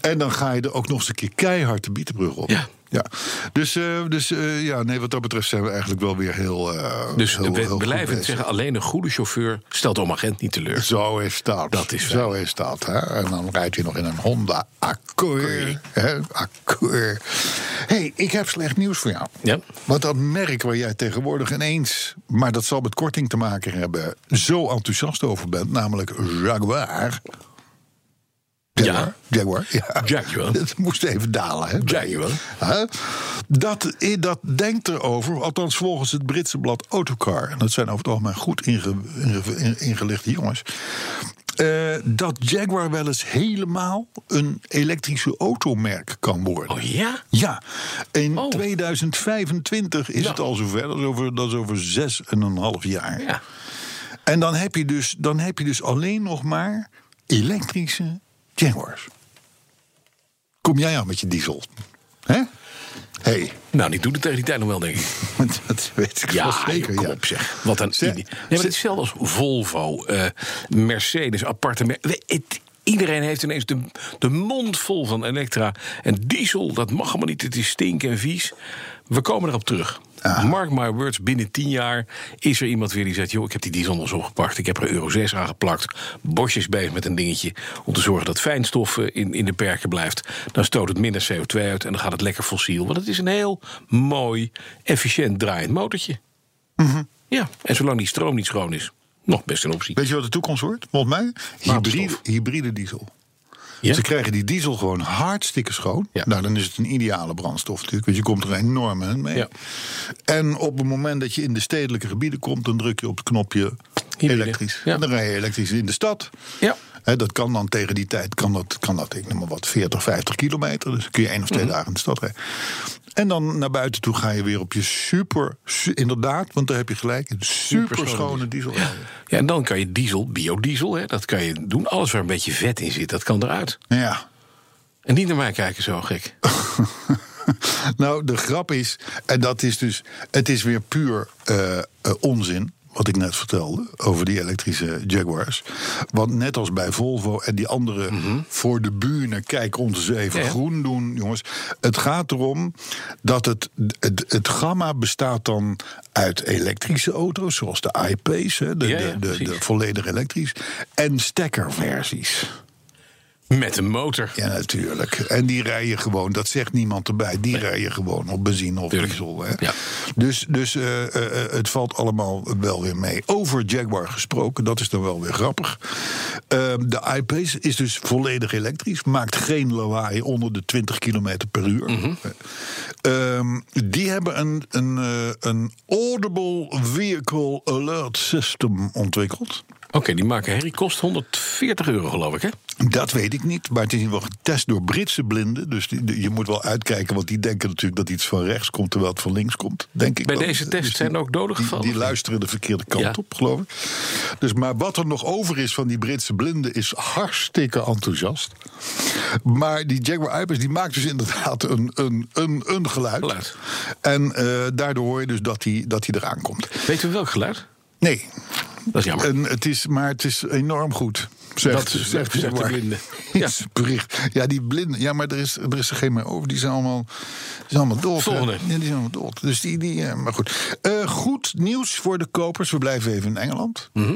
B: En dan ga je er ook nog eens een keer keihard de bietenbrug op.
C: Ja.
B: Dus, eh, dus eh, ja, nee, wat dat betreft zijn we eigenlijk wel weer heel. eh,
C: Dus
B: heel,
C: we
B: heel goed
C: blijven het
B: bezig.
C: zeggen, alleen een goede chauffeur stelt om agent niet teleur.
B: Zo is dat.
C: Dat is
B: Zo is dat. Hè? En dan rijdt hij nog in een Honda Accord. hè? Accord. hey, ik heb slecht nieuws voor jou.
C: Ja.
B: Want dat merk waar jij tegenwoordig ineens... maar dat zal met korting te maken hebben... zo enthousiast over bent, namelijk Jaguar... Jaguar, Jaguar, ja.
C: Jaguar.
B: Het moest even dalen, hè?
C: Jaguar.
B: Hè? Dat, eh, dat denkt erover, althans volgens het Britse blad Autocar... en dat zijn over het algemeen goed inge- inge- in- ingelichte jongens... eh, dat Jaguar wel eens helemaal een elektrische automerk kan worden.
C: Oh ja?
B: Ja, in
C: Oh.
B: 2025 is
C: Ja.
B: het al zover. Dat is over, dat is over zes en een half jaar.
C: Ja.
B: En dan heb, je dus, dan heb je dus alleen nog maar elektrische Jaguars. Kom jij aan met je diesel? Hè? Hé,
C: Nou, die doet het tegen die tijd nog wel, denk ik.
B: dat weet ik wel
C: Ja,
B: zeker.
C: kom
B: ja.
C: op zeg. Wat een
B: Ze-
C: idee. Nee, maar het is hetzelfde als Volvo, eh, Mercedes, aparte... mer- We- het- iedereen heeft ineens de, de mond vol van elektra. En diesel, dat mag allemaal niet. Het is stink en vies. We komen erop terug.
B: Ah.
C: Mark my words, binnen tien jaar is er iemand weer die zegt... joh, ik heb die diesel nog zo gepakt. Ik heb er euro 6 aan geplakt. Bosch is bezig met een dingetje om te zorgen dat fijnstof eh, in, in de perken blijft. Dan stoot het minder CO2 uit en dan gaat het lekker fossiel. Want het is een heel mooi, efficiënt draaiend motortje. Ja, en zolang die stroom niet schoon is, nog best een optie.
B: Weet je wat de toekomst wordt? Volgens mij hybride,
C: Waterstof.
B: hybride diesel.
C: Ja?
B: Ze krijgen die diesel gewoon hartstikke schoon.
C: Ja.
B: Nou, dan is het een ideale brandstof natuurlijk, want je komt er enorm aan mee.
C: Ja.
B: En op het moment dat je in de stedelijke gebieden komt, dan druk je op het knopje
C: Hybride.
B: elektrisch.
C: Ja.
B: Dan rij je elektrisch in de stad.
C: Ja.
B: Hè, dat kan dan tegen die tijd, kan dat, kan dat ik noem maar wat, 40, 50 kilometer. Dus dan kun je één of twee dagen in de stad rijden. En dan naar buiten toe ga je weer op je super, su- inderdaad, want daar heb je gelijk, een super schone diesel. rijden.
C: Ja, en dan kan je diesel, biodiesel, hè, dat kan je doen. Alles waar een beetje vet in zit, dat kan eruit.
B: Ja.
C: En niet naar mij kijken zo gek.
B: nou, de grap is, en dat is dus, het is weer puur eh, eh, onzin. Wat ik net vertelde over die elektrische Jaguars. Want net als bij Volvo en die andere voor de bühne, kijk ons eens even
C: Mhm. Ja.
B: groen doen, jongens. Het gaat erom dat het, het, het gamma bestaat dan uit elektrische auto's, zoals de iP's, hè, de,
C: Ja, ja,
B: de, de, de
C: precies.
B: volledig elektrisch, en stekkerversies.
C: Met een motor.
B: Ja, natuurlijk. En die rijden gewoon, dat zegt niemand erbij. Die rijden gewoon op benzine of
C: Tuurlijk.
B: diesel. Hè?
C: Ja.
B: Dus, dus eh, eh, eh, het valt allemaal wel weer mee. Over Jaguar gesproken, dat is dan wel weer grappig. Eh, de I-Pace is dus volledig elektrisch. Maakt geen lawaai onder de 20 km per uur.
C: Mhm.
B: Ehm, die hebben een, een, eh, een Audible Vehicle Alert System ontwikkeld.
C: Oké, die maken herrie kost 140 euro, geloof ik, hè?
B: Dat weet ik niet, maar het is in ieder geval getest door Britse blinden. Dus die- die- je moet wel uitkijken, want die denken natuurlijk dat iets van rechts komt... terwijl het van links komt, denk ik.
C: Bij
B: dan.
C: deze test
B: die-
C: zijn ook doden
B: die-
C: gevallen.
B: Die, luisteren de verkeerde kant
C: Ja.
B: op, geloof ik. Dus, maar wat er nog over is van die Britse blinden is hartstikke enthousiast. Maar die Jaguar Ibis die maakt dus inderdaad een, een, een, een geluid.
C: Geluid.
B: En eh, daardoor hoor je dus dat hij dat die eraan komt.
C: Weet u welk geluid?
B: Nee,
C: Dat is jammer.
B: en het is, maar het is enorm goed. Zegt,
C: Dat is- zegt de
B: Jaguar.
C: blinde.
B: Ja. Is bericht. ja, die blinden. Ja, maar er is er, is er geen meer over. Die zijn allemaal, die zijn allemaal dood. hè?
C: Volgende.
B: Ja, die zijn allemaal dood. Dus die, die eh, maar goed. Eh, goed nieuws voor de kopers. We blijven even in Engeland.
C: Mhm.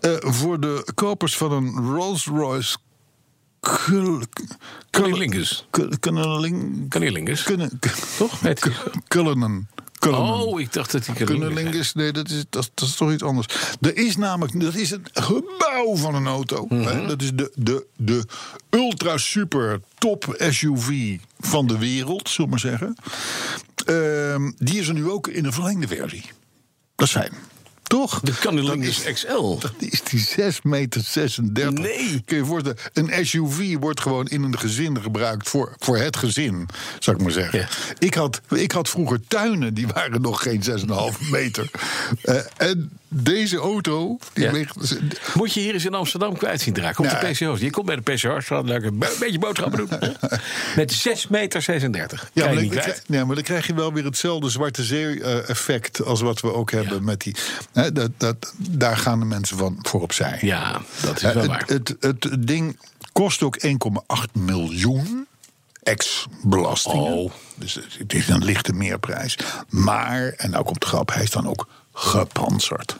B: Eh, voor de kopers van een Rolls-Royce... Kul-
C: Cunnilingus.
B: Kul- Cunniling-
C: Cunnilingus.
B: Kunnen-
C: Toch? Heet die zo?
B: Cullinan. Cullinan.
C: Oh, ik dacht dat die Cunnilingus...
B: Cunnilingus, nee, dat is, dat, dat is toch iets anders. Er is namelijk, dat is een gebouw van een auto. hè. Dat is de, de, de ultra super top SUV van de wereld, zullen we maar zeggen. Ehm, die is er nu ook in een verlengde versie. Dat zijn. Toch?
C: De Cunnilingus
B: Dat is-
C: XL.
B: Dan is die 6 meter 36.
C: Nee.
B: Kun je je voorstellen, een SUV wordt gewoon in een gezin gebruikt voor, voor het gezin, zou ik maar zeggen.
C: Ja.
B: Ik, had, ik had vroeger tuinen, die waren nog geen 6,5 meter. Eh, en deze auto, die
C: Ja.
B: weegt...
C: Moet je hier eens in Amsterdam kwijt zien draken. Op de
B: Nee.
C: PCO's. Je komt bij de PCO's. Een beetje boodschappen doen. Met 6 meter 36. Ja,
B: maar,
C: je
B: dan,
C: niet kwijt.
B: ja, maar dan krijg je wel weer hetzelfde zwarte zee-effect als wat we ook hebben met die. Hè, dat, dat, daar gaan de mensen van voor opzij.
C: Ja, dat is
B: Eh,
C: wel
B: het,
C: waar.
B: Het, het, ding kost ook 1,8 miljoen ex-belastingen.
C: Oh.
B: Dus het is een lichte meerprijs. Maar, en nou komt de grap, hij is dan ook gepantserd.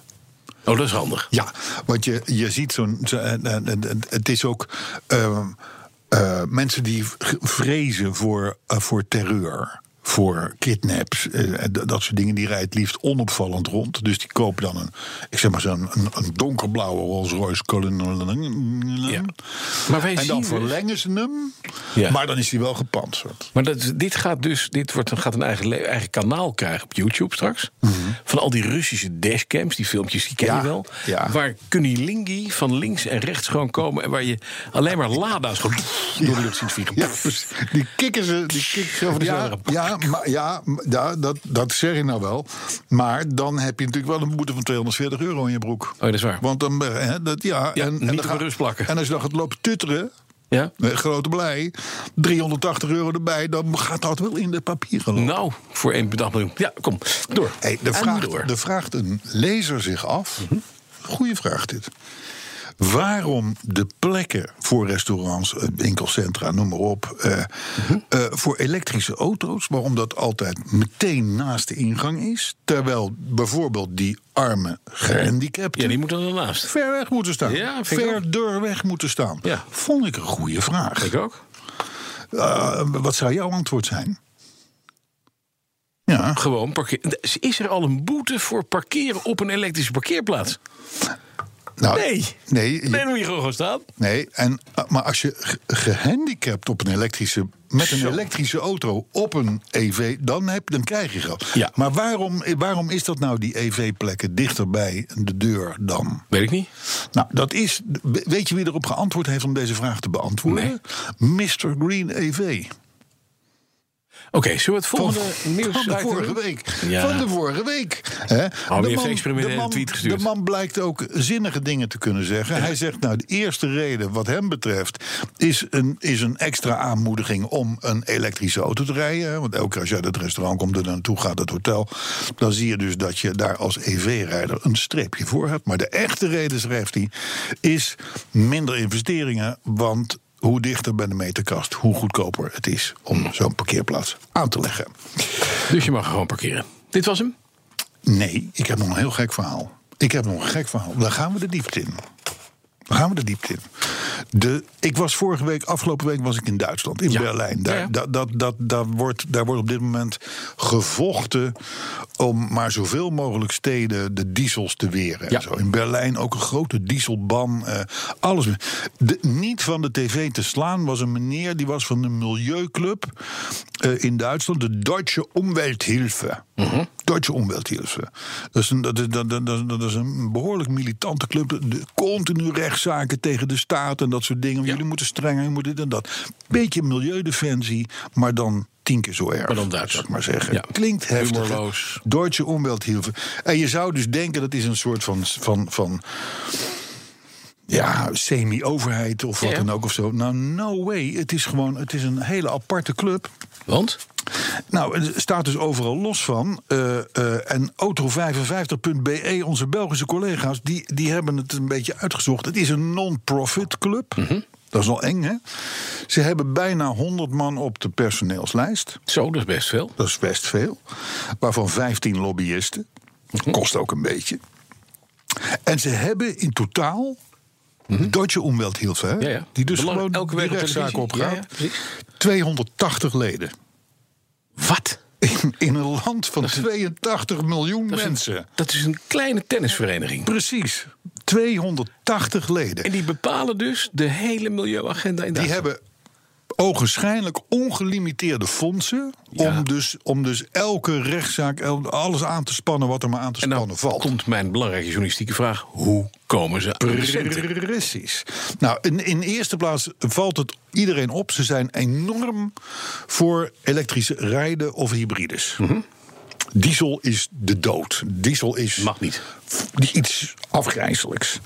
C: Oh, dat is handig.
B: Ja, want je, je ziet zo'n. zo- eh, en- en- en- en het is ook. ehm, eh, mensen die v- vrezen voor, eh, voor terreur. Voor kidnaps, eh, en d- dat soort dingen, die rijdt het liefst onopvallend rond. Dus die kopen dan een, ik zeg maar zo'n een, een donkerblauwe Rolls Royce Cullinan.
C: Ja. Maar wij
B: En
C: zien
B: dan
C: dus-
B: verlengen ze hem,
C: Ja.
B: maar dan is hij wel gepantserd.
C: Maar dat, dit gaat dus dit wordt, gaat een eigen, le- eigen kanaal krijgen op YouTube straks. Van al die Russische dashcams, die filmpjes, die ken
B: Mhm. Ja,
C: je wel.
B: ja.
C: Waar Kunilingi van links en rechts gewoon komen. En waar je alleen maar lada's gewoon door de lucht ziet vliegen.
B: Ja, precies. die kikken ze, die kikken ze over de
C: Ja,
B: ja, ja, maar, ja, maar- ja dat, dat zeg je nou wel. Maar dan heb je natuurlijk wel een boete van 240 euro in je broek.
C: dat is waar.
B: Want dan, eh, hè, dat, ja,
C: Ja, niet
B: dan
C: op de
B: ga-
C: rust plakken.
B: En als je dan gaat lopen tutteren,
C: Ja?
B: eh, grote blij, 380 euro erbij, dan gaat dat wel in de papieren lopen.
C: Nou, voor één bedacht miljoen. Ja, kom, door.
B: Hey, de
C: En
B: vraag,
C: door. Mhm.
B: de vraagt een lezer zich af. Goeie vraag dit. Waarom de plekken voor restaurants, eh, winkelcentra, noem maar op, eh,
C: Mhm.
B: eh, voor elektrische auto's, waarom dat altijd meteen naast de ingang is, terwijl bijvoorbeeld die arme gehandicapten
C: Ja, die moet er dan naast.
B: ver weg moeten staan,
C: Ja, vind ik ook.
B: verder weg moeten staan.
C: Ja.
B: Vond ik een goede vraag.
C: Ik ook.
B: Eh, wat zou jouw antwoord zijn? Ja.
C: Gewoon parkeren. Is er al een boete voor parkeren op een elektrische parkeerplaats?
B: Nou,
C: Nee.
B: nee, je-
C: Nee, dan moet je gewoon gaan staan.
B: Nee, en, eh, maar als je ge- gehandicapt op een elektrische, met een elektrische auto op een EV, dan, heb, dan krijg je geld.
C: Ja.
B: Maar waarom, waarom is dat nou, die EV-plekken dichter bij de deur dan?
C: Weet ik niet.
B: Nou, dat is. Weet je wie erop geantwoord heeft om deze vraag te beantwoorden? Mr. Green E EV.
C: Oké, zullen we het volgende nieuws
B: van de
C: item
B: vorige
C: doen?
B: week.
C: Ja.
B: Van de vorige week. Hè?
C: heeft
B: de,
C: een experimentele
B: de man-
C: tweet gestuurd.
B: de man blijkt ook zinnige dingen te kunnen zeggen. Hij zegt, nou, de eerste reden wat hem betreft... Is een, is een extra aanmoediging om een elektrische auto te rijden. hè. Want elke keer als je uit het restaurant komt en er naartoe gaat het hotel... dan zie je dus dat je daar als EV-rijder een streepje voor hebt. Maar de echte reden, schrijft hij, is minder investeringen... want hoe dichter bij de meterkast, hoe goedkoper het is om zo'n parkeerplaats aan te leggen.
C: Dus je mag gewoon parkeren. Dit was hem.
B: Nee, ik heb nog een heel gek verhaal. Ik heb nog een gek verhaal. Daar gaan we de diepte in. Daar gaan we de diepte in. De, ik was vorige week, afgelopen week was ik in Duitsland, in
C: Ja.
B: Berlijn. Daar,
C: Ja, ja.
B: Dat, dat, dat, daar, wordt, daar wordt op dit moment gevochten om maar zoveel mogelijk steden de diesels te weren. en
C: Ja.
B: Zo. In Berlijn ook een grote dieselban. eh, alles. De, niet van de tv te slaan was een meneer, die was van de Milieuclub eh, in Duitsland, de Deutsche Umwelthilfe.
C: Mhm.
B: Deutsche Umwelthilfe. Dat is, een, dat, is, dat, dat- dat- dat is een behoorlijk militante club. De- de- continu rechtszaken tegen de staat en dat soort dingen. Jullie moeten strenger, jullie moeten dit en dat. Beetje milieudefensie, maar dan tien keer zo erg.
C: Maar dan Duits.
B: zou ik maar zeggen.
C: Ja.
B: Klinkt heftig. hè?
C: Humorloos.
B: Deutsche Umwelthilfe. En je zou dus denken dat is een soort van, van, van ja, semi-overheid of wat
C: Ja.
B: dan ook of zo. Nou, no way. Het is gewoon het is een hele aparte club.
C: Want?
B: Nou, het staat dus overal los van. Eh, eh, en auto55.be, E, onze Belgische collega's, die, die hebben het een beetje uitgezocht. Het is een non-profit club. Dat is al eng, hè? Ze hebben bijna 100 man op de personeelslijst.
C: Zo, dat is best veel.
B: Dat is best veel. Waarvan 15 lobbyisten.
C: Mhm.
B: Kost ook een beetje. En ze hebben in totaal. Deutsche Umwelthilfe, hè?
C: Mhm. Ja, ja.
B: die dus
C: Belang-
B: gewoon
C: elke
B: elke
C: week
B: week
C: op
B: die rechtszaken
C: televisie. Ja,
B: opgaat.
C: ja, precies.
B: 280 leden.
C: Wat?
B: In, in een land van 82 miljoen mensen.
C: Dat is een kleine tennisvereniging.
B: Precies. 280 leden.
C: En die bepalen dus de hele milieuagenda in
B: Die
C: Duitsland.
B: hebben ogenschijnlijk ongelimiteerde fondsen. Om, dus, om dus elke rechtszaak, el- alles aan te spannen wat er maar aan te
C: En
B: spannen
C: dan
B: valt.
C: komt mijn belangrijke journalistieke vraag. Hoe komen ze aan de centen?
B: Precies. Nou, in, in de eerste plaats valt het iedereen op. Ze zijn enorm voor elektrische rijden of hybrides.
C: Mhm.
B: Diesel is de dood. Diesel is.
C: Mag niet.
B: f- Iets afgrijzelijks.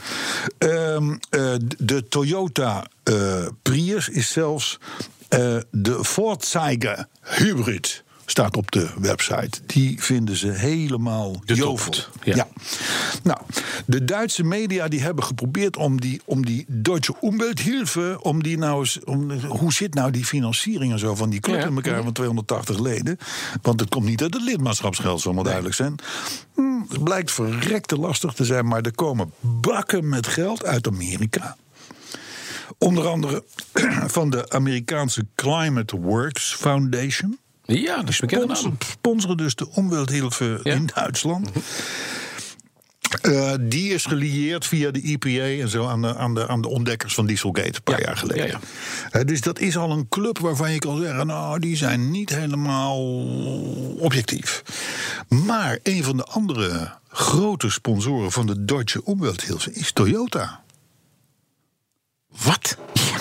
B: Ehm, eh, d- de Toyota eh, Prius is zelfs eh, de Vorzeiger Hybrid. Staat op de website. Die vinden ze helemaal
C: De
B: jovel.
C: toppert, ja.
B: ja. Nou, de Duitse media die hebben geprobeerd om die, om die Duitse Umwelthilfe, om die nou eens, om, hoe zit nou die financiering en zo van die club
C: Ja,
B: in elkaar van 280 leden? Want het komt niet uit het lidmaatschapsgeld, zal maar duidelijk zijn. Hm, het blijkt verrekte lastig te zijn, maar er komen bakken met geld uit Amerika. Onder andere van de Amerikaanse Climate Works Foundation
C: Ja, dus dat is een bekende naam.
B: spons- sponsoren dus de Umwelthilfe
C: Ja. Mhm.
B: in Duitsland. Eh, die is gelieerd via de EPA en zo aan de, aan de, aan de ontdekkers van Dieselgate een paar
C: Ja,
B: jaar geleden.
C: ja,
B: Eh, dus dat is al een club waarvan je kan zeggen: nou, die zijn niet helemaal objectief. Maar een van de andere grote sponsoren van de Duitse Umwelthilfe is Toyota.
C: Wat?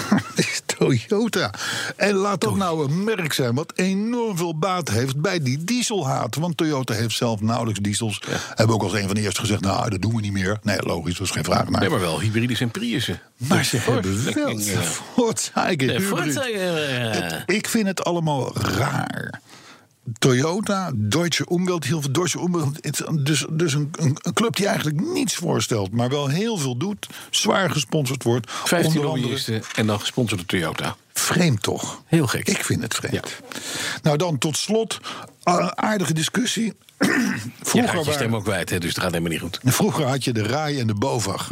B: Het is Toyota. En laat dat nou een merk zijn wat enorm veel baat heeft bij die dieselhaat. Want Toyota heeft zelf nauwelijks diesels. Hebben ook als een van de eerste gezegd, nou, dat doen we niet meer. Nee, logisch, dat is geen vraag naar.
C: Nee, maar wel hybrides en Priussen.
B: maar ze hebben wel
C: Ja.
B: de Volkswagen
C: De
B: hybrid.
C: Vorzeiger.
B: Ik vind het allemaal raar. Toyota, Deutsche Umwelthilfe, Deutsche Umwelt. het is Dus, dus een, een, een club die eigenlijk niets voorstelt, maar wel heel veel doet. Zwaar gesponsord wordt.
C: 15
B: onder andere
C: lobbyisten en dan gesponsord door Toyota.
B: Vreemd toch?
C: Heel gek.
B: Ik vind het vreemd. Nou dan tot slot, eh, aardige discussie.
C: Je gaat
B: vroeger,
C: je stem
B: waren,
C: ook kwijt, hè, dus het gaat helemaal niet goed.
B: vroeger had je de RAI en de BOVAG.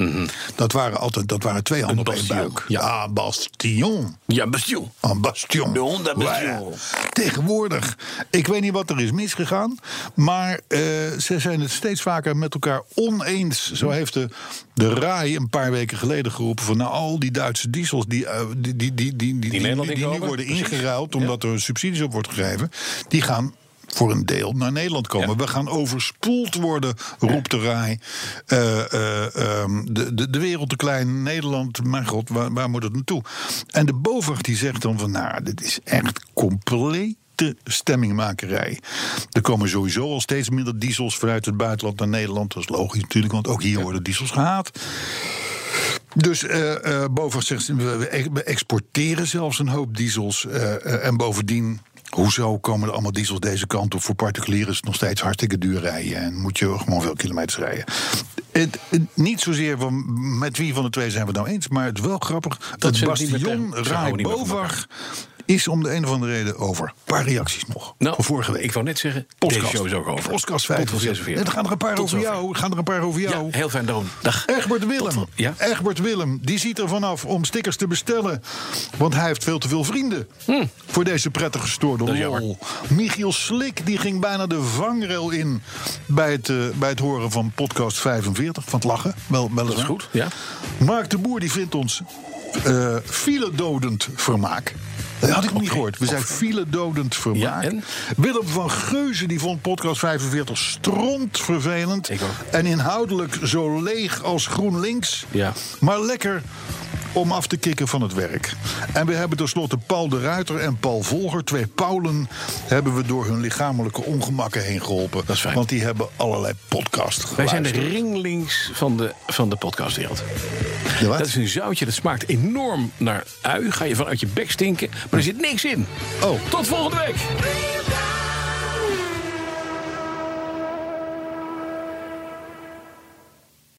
B: dat, waren altijd, dat waren twee handen op één
C: Mhm. bastion,
B: buik.
C: ja.
B: Ah, bastion.
C: Ja, bastion.
B: Een bastion.
C: De Honda Bastion.
B: Waar- Tegenwoordig. Ik weet niet wat er is misgegaan. Maar eh, ze zijn het steeds vaker met elkaar oneens.
C: Mhm.
B: Zo heeft de, de RAI een paar weken geleden geroepen. van nou, al die Duitse diesels die, eh, die, die, die, die, die, die,
C: Nederland
B: die nu
C: inkomen,
B: worden
C: precies.
B: ingeruild. omdat er subsidies op wordt gegeven. die gaan. Voor een deel naar Nederland komen.
C: Ja.
B: We gaan overspoeld worden, roept de RAI. Eh, eh, ehm, de, de, de wereld te klein, Nederland, mijn god, waar, waar moet het naartoe? En de BOVAG die zegt dan van, nou, dit is echt complete stemmingmakerij. Er komen sowieso al steeds minder diesels vanuit het buitenland naar Nederland. Dat is logisch natuurlijk, want ook hier worden diesels gehaat. Dus eh eh, BOVAG zegt, we, we ex- we exporteren zelfs een hoop diesels. eh, eh, en bovendien, hoezo komen er allemaal diesels deze kant op? Voor particulieren is het nog steeds hartstikke duur rijden. En moet je gewoon veel kilometers rijden. Het, het- niet zozeer van met wie van de twee zijn we het nou eens. Maar het is wel grappig, dat
C: ze
B: het
C: het niet meer
B: bastion
C: tegen- ze houden
B: Rai
C: niet meer van
B: BOVAG is om de een of andere reden over. Een paar reacties nog.
C: Nou,
B: van vorige week.
C: Ik wou net zeggen,
B: Podcast.
C: deze show is ook over.
B: Podcast
C: Tot wel
B: 45.
C: 46.
B: Er gaan er een paar
C: Tot
B: over
C: zover.
B: jou. gaan er een paar over jou.
C: Ja, heel fijn, Droom. Dag.
B: Egbert Willem.
C: Tot- ja?
B: Egbert Willem, die ziet er vanaf om stickers te bestellen. Want hij heeft veel te veel vrienden. Voor deze prettig
C: Hm. Dat
B: gestoorde
C: is jammer.
B: lol. Michiel Slik, die ging bijna de vangrail in... bij het, eh, bij het horen van podcast 45, van het lachen. Wel, wel
C: Dat is goed, ja.
B: Mark de Boer, die vindt ons eh file-dodend vermaak. Dat had ik nog niet gehoord. We zijn file-dodend vermaak.
C: Ja, en?
B: Willem van Geuzen die vond podcast 45 stront vervelend.
C: Ik ook.
B: En inhoudelijk zo leeg als GroenLinks.
C: Ja.
B: Maar lekker om af te kicken van het werk. En we hebben tenslotte Paul de Ruiter en Paul Volger, twee Paulen... hebben we door hun lichamelijke ongemakken heen geholpen.
C: Dat is fijn.
B: Want die hebben allerlei podcasts geluisterd.
C: Wij zijn de ringlinks van de, van de podcastwereld.
B: De wat?
C: Dat is een zoutje, dat smaakt enorm naar ui. Ga je vanuit je bek stinken, maar er zit niks in.
B: Oh.
C: Tot volgende week!